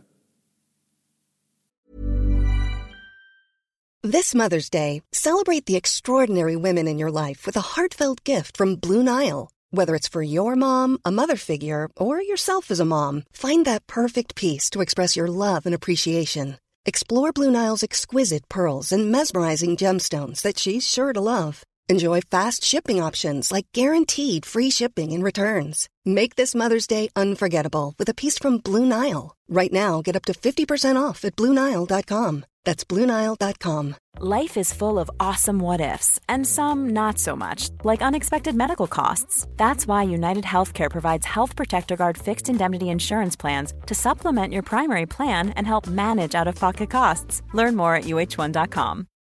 S6: This Mother's Day, celebrate the extraordinary women in your life with a heartfelt gift from Blue Nile. Whether it's for your mom, a mother figure, or yourself as a mom, find that perfect piece to express your love and appreciation. Explore Blue Nile's exquisite pearls and mesmerizing gemstones that she's sure to love. Enjoy fast shipping options like guaranteed free shipping and returns. Make this Mother's Day unforgettable with a piece from Blue Nile. Right now, get up to 50% off at BlueNile.com. That's BlueNile.com.
S7: Life is full of awesome what ifs and some not so much, like unexpected medical costs. That's why United Healthcare provides Health Protector Guard fixed indemnity insurance plans to supplement your primary plan and help manage out of pocket costs. Learn more at uh1.com.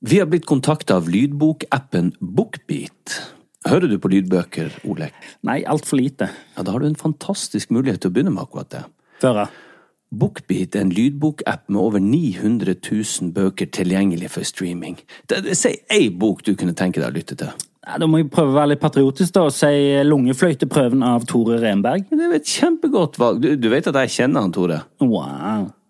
S4: Vi har blitt kontakta av lydbokappen Bookbeat. Hører du på lydbøker, Olek?
S2: Nei, altfor lite.
S4: Ja, Da har du en fantastisk mulighet til å begynne med akkurat det.
S2: Før
S4: Bookbeat er en lydbokapp med over 900 000 bøker tilgjengelig for streaming. Det- det- Si ei bok du kunne tenke deg å lytte til.
S2: Ja, Da må jeg prøve å være litt patriotisk da, og si eh, lungefløyteprøven av Tore Renberg.
S4: Det er et kjempegodt valg. Du, du vet at jeg kjenner han, Tore?
S2: Wow.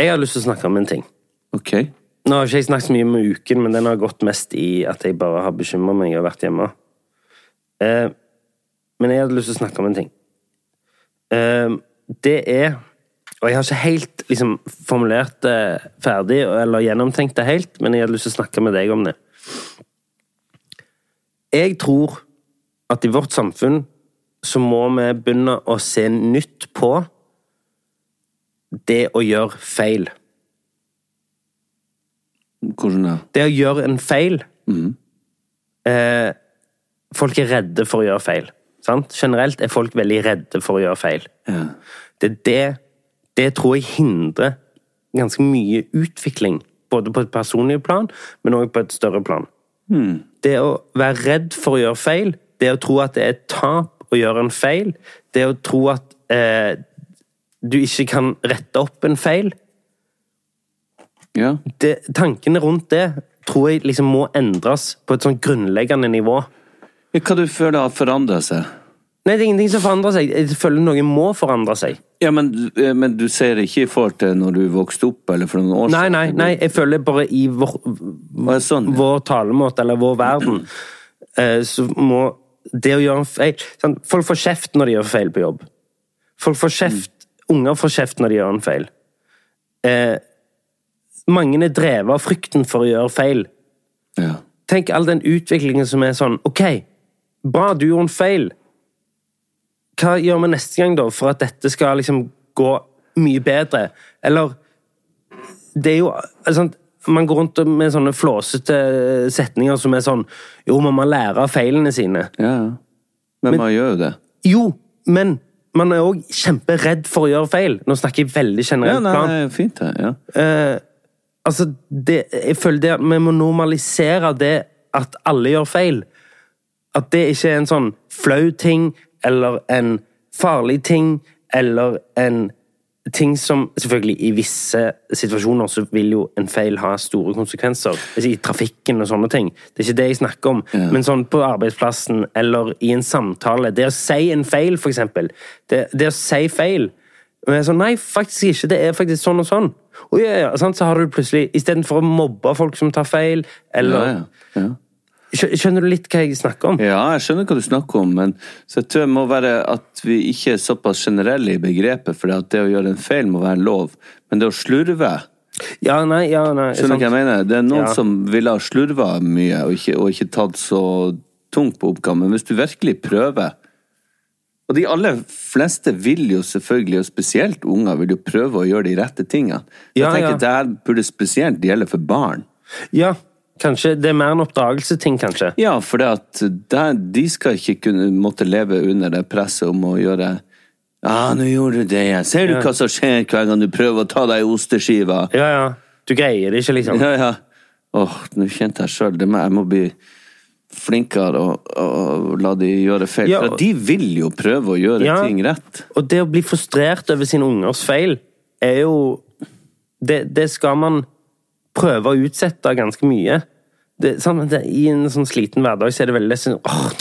S3: Jeg har lyst til å snakke om en ting.
S4: Ok.
S3: Nå har ikke jeg snakket så mye om uken, men den har gått mest i at jeg bare har bekymret meg og vært hjemme. Eh, men jeg hadde lyst til å snakke om en ting. Eh, det er Og jeg har ikke helt liksom, formulert det ferdig eller gjennomtenkt det helt, men jeg hadde lyst til å snakke med deg om det. Jeg tror at i vårt samfunn så må vi begynne å se nytt på det å gjøre feil.
S4: Hvordan da?
S3: Det å gjøre en feil eh, Folk er redde for å gjøre feil. Sant? Generelt er folk veldig redde for å gjøre feil.
S4: Ja.
S3: Det, er det, det tror jeg hindrer ganske mye utvikling. Både på et personlig plan, men òg på et større plan. Det å være redd for å gjøre feil, det å tro at det er et tap å gjøre en feil, det å tro at eh, du ikke kan rette opp en feil,
S4: Ja.
S3: det, tankene rundt det tror jeg liksom må endres på et sånn grunnleggende nivå.
S4: Hva du føler har forandra seg?
S3: Nei, det er ingenting som forandrer seg. Jeg føler noe må forandre seg.
S4: Ja, men, men du ser ikke i forhold til når du vokste opp, eller for noen år
S3: Nei, nei, nei, jeg føler bare i vår,
S4: Var det sånn?
S3: vår talemåte, eller vår verden, eh, så må det å gjøre en feil sant? Folk får kjeft når de gjør feil på jobb. Folk får kjeft, Unger får kjeft når de gjør en feil. Eh, mange er drevet av frykten for å gjøre feil.
S4: Ja.
S3: Tenk all den utviklingen som er sånn Ok, bra, du gjorde en feil. Hva gjør vi neste gang, da, for at dette skal liksom gå mye bedre? Eller Det er jo altså, sant, Man går rundt med sånne flåsete setninger som er sånn Jo, man må lære av feilene sine.
S4: ja. Men, man gjør jo det.
S3: Jo, men man er òg kjemperedd for å gjøre feil. Nå snakker jeg veldig
S4: Ja,
S3: generelt.
S4: nei,
S3: plan.
S4: nei, fint det. Ja.
S3: Altså, det, jeg føler det at vi må normalisere det at alle gjør feil. At det ikke er en sånn flau ting, eller en farlig ting, eller en ting som Selvfølgelig, i visse situasjoner så vil jo en feil ha store konsekvenser. Altså, I trafikken og sånne ting. Det er ikke det jeg snakker om. Men sånn på arbeidsplassen eller i en samtale Det å si en feil, for eksempel. Det, det å si feil og jeg sa nei, faktisk ikke. Det er faktisk sånn og sånn. Og ja, ja, sant? Så har du plutselig, Istedenfor å mobbe folk som tar feil,
S4: Ja,
S3: eller
S4: ja. ja.
S3: Skjø- Skjønner du litt hva jeg snakker om?
S4: Ja, jeg skjønner hva du snakker om, men så jeg tror det må være at vi ikke er såpass generelle i begrepet, for at det å gjøre en feil må være lov. Men det å slurve
S3: Ja, nei, ja, nei.
S4: Skjønner du hva jeg mener? Det er noen
S3: Ja.
S4: som ville ha slurva mye og ikke, og ikke tatt så tungt på oppgaven, men hvis du virkelig prøver Og de aller fleste vil jo selvfølgelig, og spesielt unger, vil jo prøve å gjøre de rette tingene. Så
S3: Ja,
S4: jeg tenker
S3: ja.
S4: at det her burde spesielt gjelde for barn.
S3: Ja, kanskje. Det er mer en oppdagelseting, kanskje.
S4: Ja, for det at der, de skal ikke kunne måtte leve under det presset om å gjøre Ja, nå gjorde du det igjen. Ser du
S3: Ja.
S4: hva som skjer hver gang du prøver å ta deg i osteskiva?
S3: Ja, ja. Du greier det ikke, liksom.
S4: Ja, ja. Åh, nå kjente jeg sjøl det. men Jeg må bli flinkere og, og la de gjøre feil.
S3: Ja,
S4: For
S3: og-
S4: de vil jo prøve å gjøre
S3: Ja.
S4: ting rett.
S3: Og det å bli frustrert over sine ungers feil er jo Det, det skal man prøve å utsette ganske mye. Det, sant? det, I en sånn sliten hverdag så er det veldig sånn åh,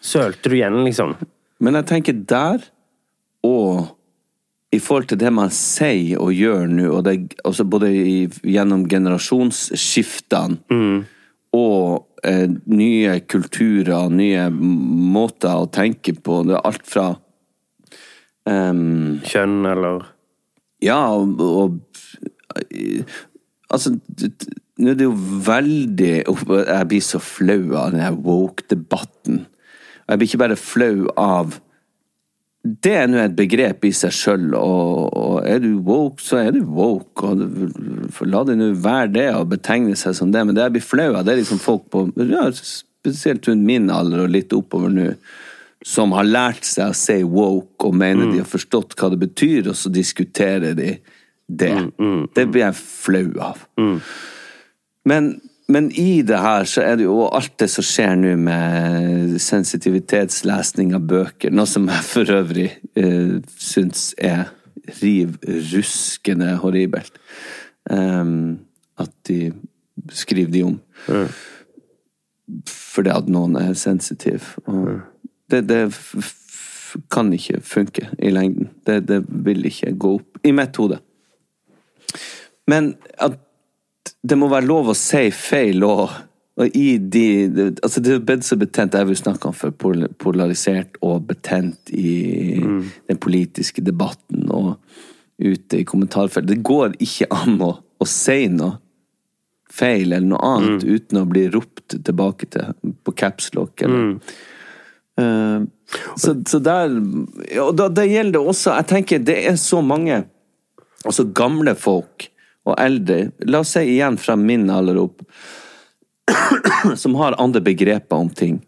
S3: Sølte du igjen, liksom?
S4: Men jeg tenker der, og i forhold til det man sier og gjør nå, og det, altså både i, gjennom generasjonsskiftene
S3: Mm.
S4: og eh, nye kulturer, nye m- måter å tenke på, det er alt fra ehm,
S3: Kjønn, eller
S4: Ja, og, og eh, Altså, d- d- nå er det jo veldig Uff, Jeg blir så flau av den her woke-debatten. Og Jeg blir ikke bare flau av Det er nå et begrep i seg sjøl, og, og er du woke, så er du woke. Og du- for la det nå være det, og betegne seg som det. Men det jeg blir flau av, det er liksom folk på ja, Spesielt rundt min alder og litt oppover nå som har lært seg å si woke og mener de har forstått hva det betyr, og så diskuterer de det. Det blir jeg flau av. Men, men i det her så er det jo og alt det som skjer nå med sensitivitetslesning av bøker, noe som jeg for øvrig eh, syns er riv ruskende horribelt, ehm, at de skriver de om. Fordi at noen er sensitiv. Og det, det f f kan ikke funke i lengden. Det, det vil ikke gå opp. I mitt hode. Men at det må være lov å si feil og, og i de det- Altså, det er blitt så betent, jeg vil snakke om før, pol- polarisert og betent i den politiske debatten og ute i kommentarfeltet. Det går ikke an å, å si noe feil eller noe annet uten å bli ropt tilbake til på capslock eller Eh, så, så der Og da, da gjelder det også Jeg tenker det er så mange Altså gamle folk og eldre, la oss si igjen fra min alder opp, som har andre begreper om ting.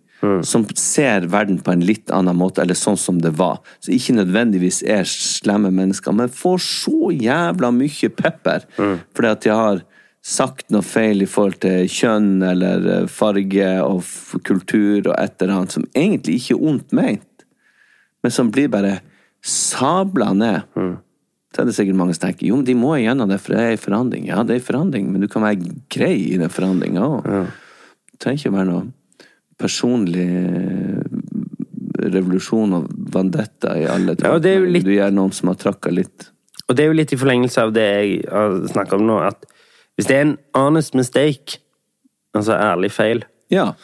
S4: Som ser verden på en litt annen måte, eller sånn som det var. Så ikke nødvendigvis er slemme mennesker, men får så jævla mye pepper fordi at de har sagt noe feil i forhold til kjønn eller eh, farge og f kultur og et eller annet som egentlig ikke er ondt ment, men som blir bare sabla ned.
S3: Mm.
S4: Så er det sikkert mange som tenker jo, men de må igjennom det, for det er en forandring. Ja, det er en forandring, men du kan være grei i den forandringa òg. Det trenger ikke å være noe personlig eh, revolusjon og vendetta i alle
S3: Ja, og det er jo
S4: trakter.
S3: litt-
S4: Du gjør noen som har trakka litt.
S3: Og det er jo litt i forlengelse av det jeg har snakket om nå, at hvis det er en honest mistake, altså ærlig feil,
S4: Ja.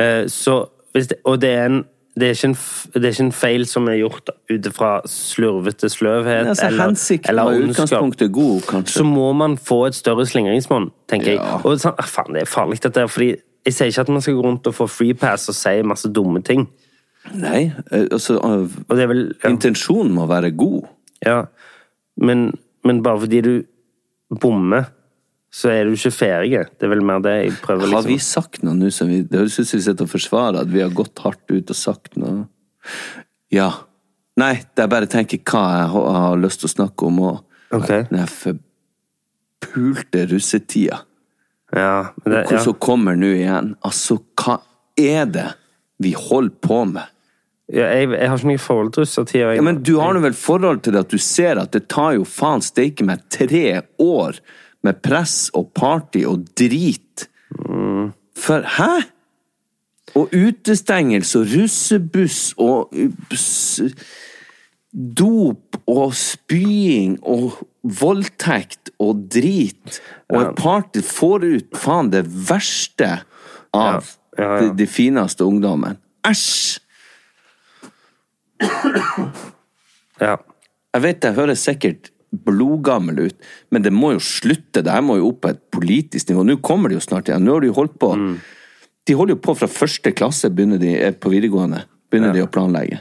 S3: eh, så hvis det, Og det er en det er, ikke en, f- det er ikke en feil som er gjort ut fra slurvete sløvhet
S4: Altså, hensikten
S3: eller
S4: og
S3: ondskap.
S4: utgangspunktet god, kanskje.
S3: så må man få et større slingringsmonn, tenker
S4: Ja.
S3: jeg. Og sånn, ah, faen, det er farlig dette, her, fordi jeg sier ikke at man skal gå rundt og få free pass og si masse dumme ting.
S4: Nei, eh, altså eh,
S3: Og det er vel, ja,
S4: Intensjonen må være god.
S3: ja. Men, men bare fordi du bommer, så er du ikke ferdig. Det er vel mer det jeg prøver
S4: Har
S3: liksom.
S4: vi sagt noe nå som vi Det høres ut som vi sitter og forsvarer at vi har gått hardt ut og sagt noe. Ja. Nei, det er bare å tenke hva jeg har- har lyst til å snakke om og
S3: Ok.
S4: Den her forpulte russetida.
S3: Ja, men det,
S4: Hvor
S3: ja.
S4: som kommer nå igjen. Altså, hva er det vi holder på med?
S3: Ja, jeg, jeg har ikke noe forhold til russetida.
S4: Ja, men du har nå vel forhold til det at du ser at det tar jo faen steike meg tre år med press og party og drit. For hæ?! Og utestengelse og russebuss og uh, s- dop og spying og voldtekt og drit og et party får ut faen det verste av De, de fineste ungdommene. Æsj!
S3: Ja.
S4: Jeg vet det høres sikkert blodgammel ut, men det må jo slutte. Det her må jo opp på et politisk nivå. Nå kommer det jo snart igjen. Nå har de jo holdt på De holder jo på fra første klasse begynner de, eh, på videregående begynner de å planlegge.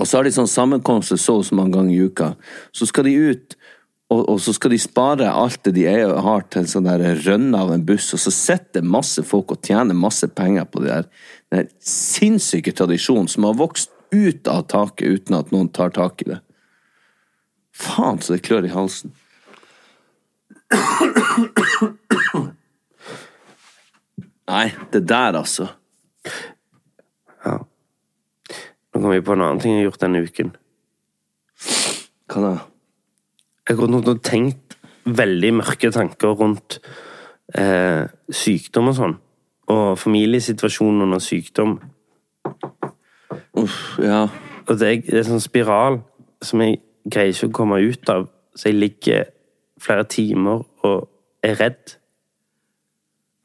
S4: Og så har de sånn sammenkomster så og så mange ganger i uka. Så skal de ut, og, og så skal de spare alt det de eier og har til en sånn der rønne av en buss, og så sitter masse folk og tjener masse penger på det der. Den der sinnssyke tradisjonen som har vokst ut av taket uten at noen tar tak i det. Faen, så det klør i halsen. Nei, det der, altså.
S3: Nå kom jeg på en annen ting jeg har gjort denne uken.
S4: Hva da?
S3: Jeg har gått rundt og tenkt veldig mørke tanker rundt eh, sykdom og sånn. Og familiesituasjonen under sykdom.
S4: Uff, ja.
S3: Og det er, det er en sånn spiral som jeg greier ikke å komme ut av. Så jeg ligger flere timer og er redd.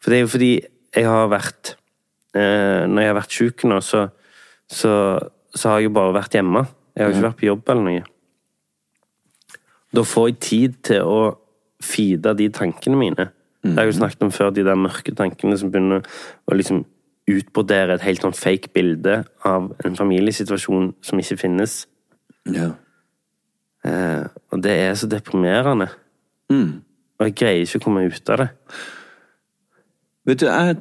S3: For det er jo fordi jeg har vært eh, Når jeg har vært syk nå, så, så, så har jeg jo bare vært hjemme. Jeg har jo ikke vært på jobb eller noe. Da får jeg tid til å feede de tankene mine. Det har jeg jo snakket om før, de der mørke tankene som begynner å liksom utbrodere et helt sånn fake bilde av en familiesituasjon som ikke finnes.
S4: Ja.
S3: Eh, og det er så deprimerende. Og jeg greier ikke å komme ut av det.
S4: Vet du, jeg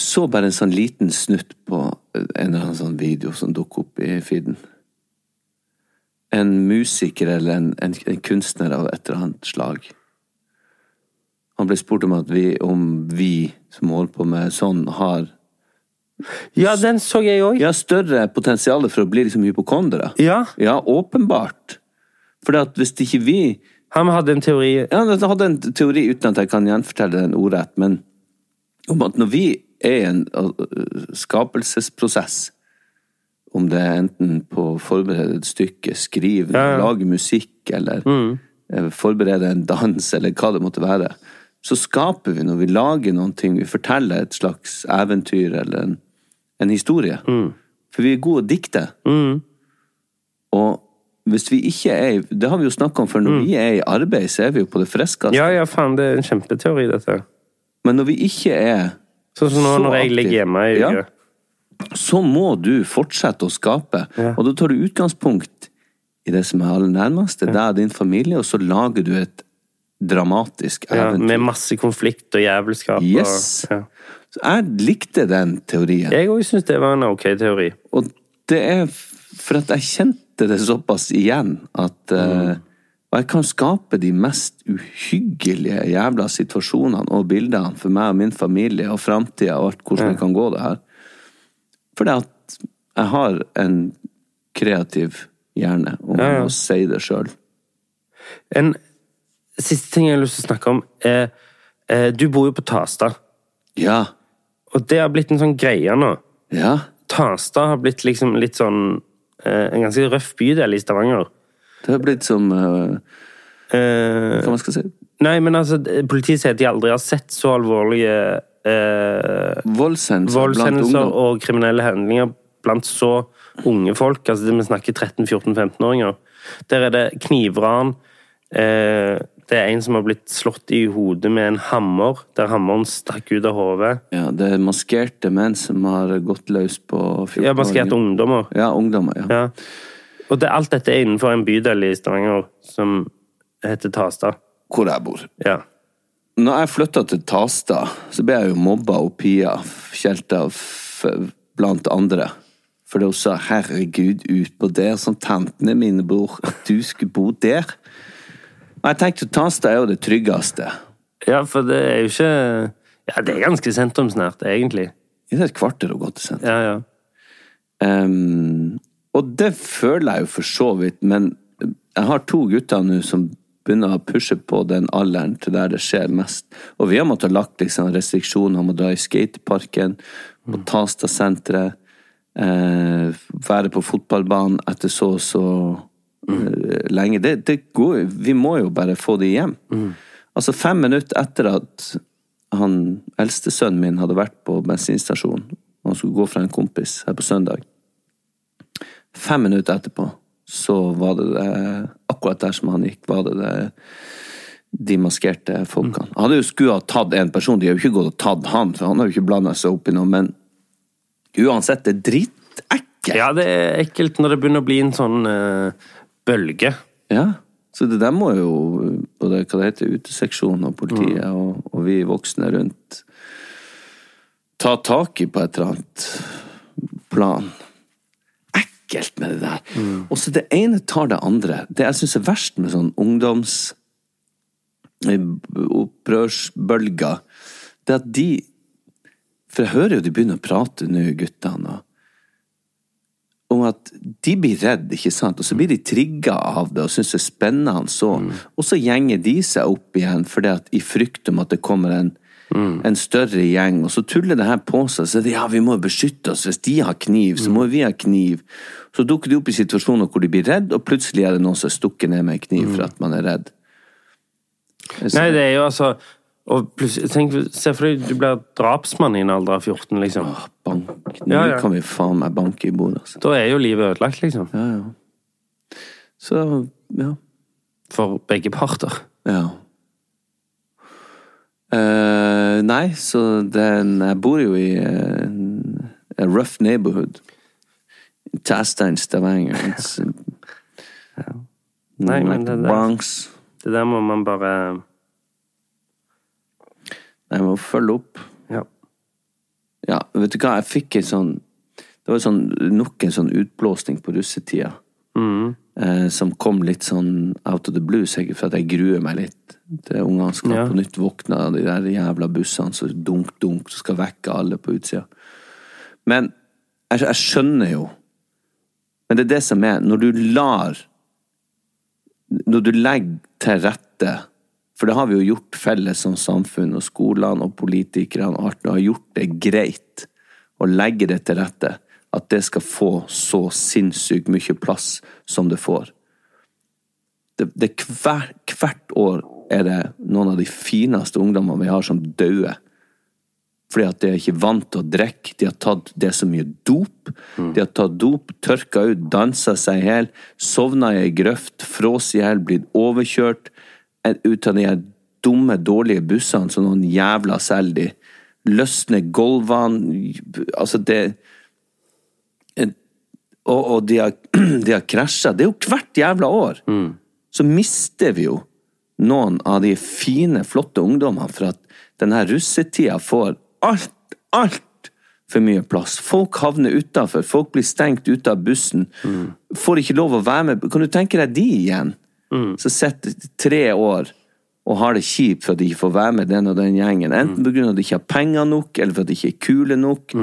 S4: så bare en sånn liten snutt på en eller annen sånn video som dukket opp i feeden. En musiker eller en, en, en kunstner av et eller annet slag. Han ble spurt om at vi, om vi som holder på med sånn, har
S3: Ja, den så jeg òg.
S4: Ja, større potensial for å bli liksom hypokondere.
S3: Ja.
S4: ja, åpenbart. For hvis ikke vi
S3: Han hadde en teori
S4: Ja, han hadde en teori uten at jeg kan gjenfortelle den ordrett, men om at når vi er i en øh, skapelsesprosess, om det er enten på å forberede et stykke, skrive, lage musikk eller eh, forberede en dans eller hva det måtte være, så skaper vi når vi lager noen ting, vi forteller et slags eventyr eller en, en historie. For vi er gode å dikte. Og hvis vi ikke er i- Det har vi jo snakka om før. Når vi er i arbeid, så er vi jo på det friskeste.
S3: Ja, ja, faen, det er en kjempeteori, dette.
S4: Men når vi ikke er
S3: Sånn som nå
S4: så
S3: når jeg
S4: aktiv-
S3: ligger hjemme i
S4: Ja.
S3: uke.
S4: så må du fortsette å skape. Og da tar du utgangspunkt i det som er aller nærmeste, deg og din familie, og så lager du et dramatisk
S3: Ja,
S4: eventyr.
S3: med masse konflikt og jævelskap.
S4: Yes.
S3: Og, ja.
S4: Så jeg likte den teorien.
S3: Jeg òg syns det var en ok teori.
S4: Og det er f- for at jeg kjente det såpass igjen at
S3: Mm.
S4: eh, Og jeg kan skape de mest uhyggelige jævla situasjonene og bildene for meg og min familie og framtida og alt, hvordan det kan gå, det her. Fordi at jeg har en kreativ hjerne, om
S3: Ja, ja.
S4: å si det sjøl.
S3: En siste ting jeg har lyst til å snakke om, er eh, Du bor jo på Tasta,
S4: Ja.
S3: og det har blitt en sånn greie nå.
S4: Ja.
S3: Tasta har blitt liksom litt sånn eh, En ganske røff bydel i Stavanger.
S4: Det har blitt som eh,
S3: Eh,
S4: Hva man skal si?
S3: nei, men altså, det- politiet sier at de aldri har sett så alvorlige eh,
S4: Voldshendelser blant
S3: voldshendelser
S4: ungdom.
S3: og kriminelle handlinger blant så unge folk. Altså det vi snakker 13-14-15-åringer. Der er det knivran. Eh, det er en som har blitt slått i hodet med en hammer, der hammeren stakk ut av hodet.
S4: Ja, det er maskerte menn som har gått løs på 14-åringer.
S3: Ja, maskert ungdommer.
S4: Ja, ungdommer. ja.
S3: Ja. Og det, alt dette er innenfor en bydel i Stavanger som heter Tasta.
S4: Hvor jeg bor.
S3: Ja.
S4: Når jeg flytta til Tasta, så ble jeg jo mobba og pia, kjelta f- blant andre. For de sa 'herregud, ut på der som tantene mine bor, at du skulle bo der'. Og jeg tenkte jo Tasta er jo det tryggeste.
S3: ja, for det er jo ikke Ja, det er ganske sentrumsnært, egentlig.
S4: Det er et kvarter å gå til sentrum.
S3: Ja, ja.
S4: Ehm, og det føler jeg jo for så vidt, men jeg har to gutter nå som begynner å pushe på den alderen til der det skjer mest. Og vi har måttet lagt liksom, restriksjoner om å dra i skateparken, på Tasta-senteret, eh, være på fotballbanen etter så og så eh, lenge. Det, det går, jo- vi må jo bare få de hjem. Altså fem minutter etter at han eldste sønnen min hadde vært på bensinstasjonen, og han skulle gå fra en kompis her på søndag. Fem minutter etterpå så var det, det akkurat der som han gikk, var det, det de maskerte folkene. Han hadde jo skulle ha tatt en person, de har jo ikke gått og tatt han, for han har jo ikke blanda seg opp i noe, men uansett, det er dritekkelt.
S3: Ja, det er ekkelt når det begynner å bli en sånn eh, bølge.
S4: Ja, så det der må jo både hva det heter, uteseksjonen og politiet og, og vi voksne rundt ta tak i på et eller annet plan. Ekkelt med det der. Og så det ene tar det andre. Det jeg syns er verst med sånn ungdomsopprørsbølger, det at de For jeg hører jo de begynner å prate nå, guttene. og om at de blir redde, ikke sant? Og så blir de trigga av det og syns det er spennende. Så.
S3: Mm.
S4: Og så gjenger de seg opp igjen fordi at i frykt om at det kommer en,
S3: Mm.
S4: en større gjeng. Og så tuller det her på seg. Så er det, ja, vi må beskytte oss. Hvis de har kniv,
S3: Mm.
S4: så må vi ha kniv. Så dukker de opp i situasjoner hvor de blir redd, og plutselig er det noen som er stukket ned med en kniv for at man er redd.
S3: Mm. Nei, det er jo altså og plutselig, tenk, Se for deg du blir drapsmann i en alder av 14, liksom.
S4: «Ah, Nå kan vi faen meg banke i bordet. Altså.
S3: Da er jo livet ødelagt, liksom.
S4: Ja, ja. Så, ja.
S3: For begge parter.
S4: Ja. Eh, nei, så den Jeg bor jo i eh, en a rough neighborhood. Tastein, Stavanger. It's,
S3: Nei, men det der-
S4: Bronx.
S3: Det der må man bare
S4: Nei, Jeg må følge opp.
S3: Ja.
S4: Ja, vet du hva, jeg fikk en sånn Det var sånn, nok en sånn utblåsning på russetida.
S3: Mhm.
S4: eh, som kom litt sånn out of the blue, sikkert for at jeg gruer meg litt til ungene skal
S3: Ja.
S4: på nytt våkne av de der jævla bussene som dunk, dunk, som skal vekke alle på utsida. Men jeg, jeg skjønner jo Men det er det som er Når du lar Når du legger til rette For det har vi jo gjort felles som samfunn, og skolene og politikerne og alt, og har gjort det greit å legge det til rette. At det skal få så sinnssykt mye plass som det får. Det, det er hver, hvert år er det noen av de fineste ungdommene vi har som dauer. Fordi at de er ikke vant til å drikke. De har tatt det er så mye dop. De har tatt dop, tørka ut, dansa seg i hjel, sovna i ei grøft, frås i hjel, blitt overkjørt eh, ut av de her dumme, dårlige bussene som noen jævla selger de. Løsne gulvene Altså, det en- Og, og de har, de har krasja. Det er jo hvert jævla år! Så mister vi jo noen av de fine, flotte ungdommene for at denne russetida får alt, alt for mye plass. Folk havner utafor, folk blir stengt ute av bussen. Får ikke lov å være med. Kan du tenke deg de igjen? Så sitter tre år og har det kjipt for at de ikke får være med den og den gjengen. Enten pga. at de ikke har penger nok, eller for at de ikke er kule nok.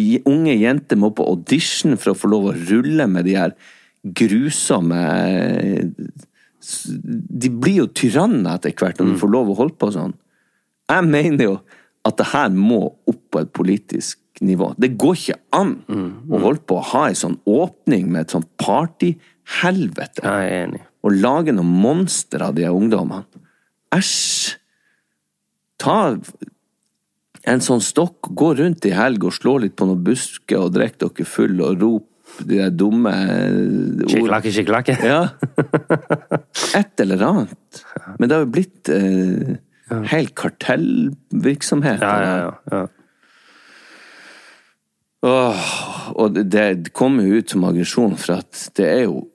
S4: Je- Unge jenter må på audition for å få lov å rulle med de her grusomme eh, s- De blir jo tyranner etter hvert når de får lov å holde på sånn. Jeg mener jo at det her må opp på et politisk nivå. Det går ikke an å holde på å ha en sånn åpning med et sånt partyhelvete.
S3: Jeg er enig.
S4: Og lage noen monstre av de her ungdommene. Æsj! Ta en sånn stokk, gå rundt i helg og slå litt på noen busker og drikk dere full og rop de der dumme eh, ord-
S3: Skikkelakke, skikkelakke.
S4: ja. Et eller annet. Men det har jo blitt eh, hel kartellvirksomhet.
S3: Ja, ja, ja. ja.
S4: Åh, og det- det kommer jo ut som aggresjon, for at det er jo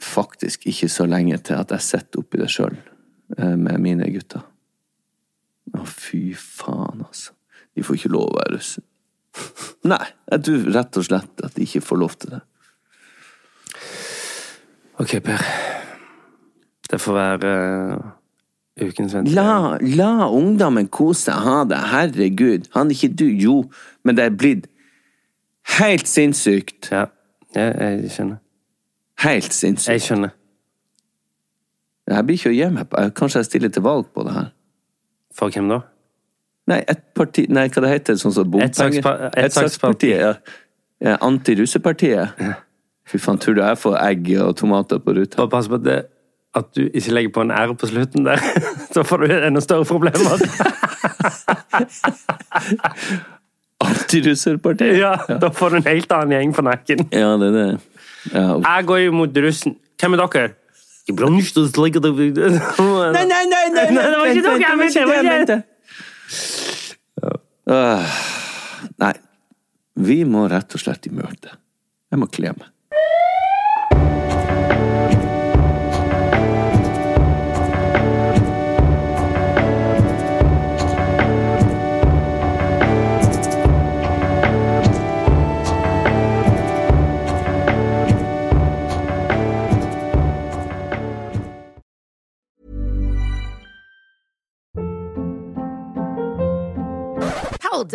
S4: faktisk ikke så lenge til at jeg sitter oppi det sjøl med mine gutter. Å, fy faen, altså. De får ikke lov å være russen. Nei, jeg tror rett og slett at de ikke får lov til det.
S3: Ok, Per. Det får være eh, ukens venn.
S4: La, la ungdommen kose seg, ha det. Herregud. Han er ikke du. Jo, men det er blitt helt sinnssykt.
S3: Ja. ja, jeg skjønner.
S4: Helt
S3: Jeg
S4: sinnssykt.
S3: skjønner.
S4: Jeg blir ikke å gi meg på. Kanskje jeg stiller til valg på det her.
S3: For hvem da?
S4: Nei, et parti Nei, hva det heter sånn som bompenger?
S3: sakspa- et saksparti.
S4: ja. ja Antirussepartiet. Fy faen, tror du jeg får egg og tomater på ruta?
S3: Bare pass på at det at du ikke legger på en R på slutten der, så får du enda større problemer.
S4: Antirusserpartiet.
S3: Ja, da får du en helt annen gjeng på nakken.
S4: Ja, det er det. Ja, ok.
S3: Jeg går jo mot russen. Hvem er dere? Jeg blir nødt til å slikke det
S4: Nei, nei, nei, nei,
S3: Nei, det var ikke dere jeg mente, det var ikke-
S4: Ah, Nei. Vi må rett og slett i møte. Jeg må kle meg.
S8: Hold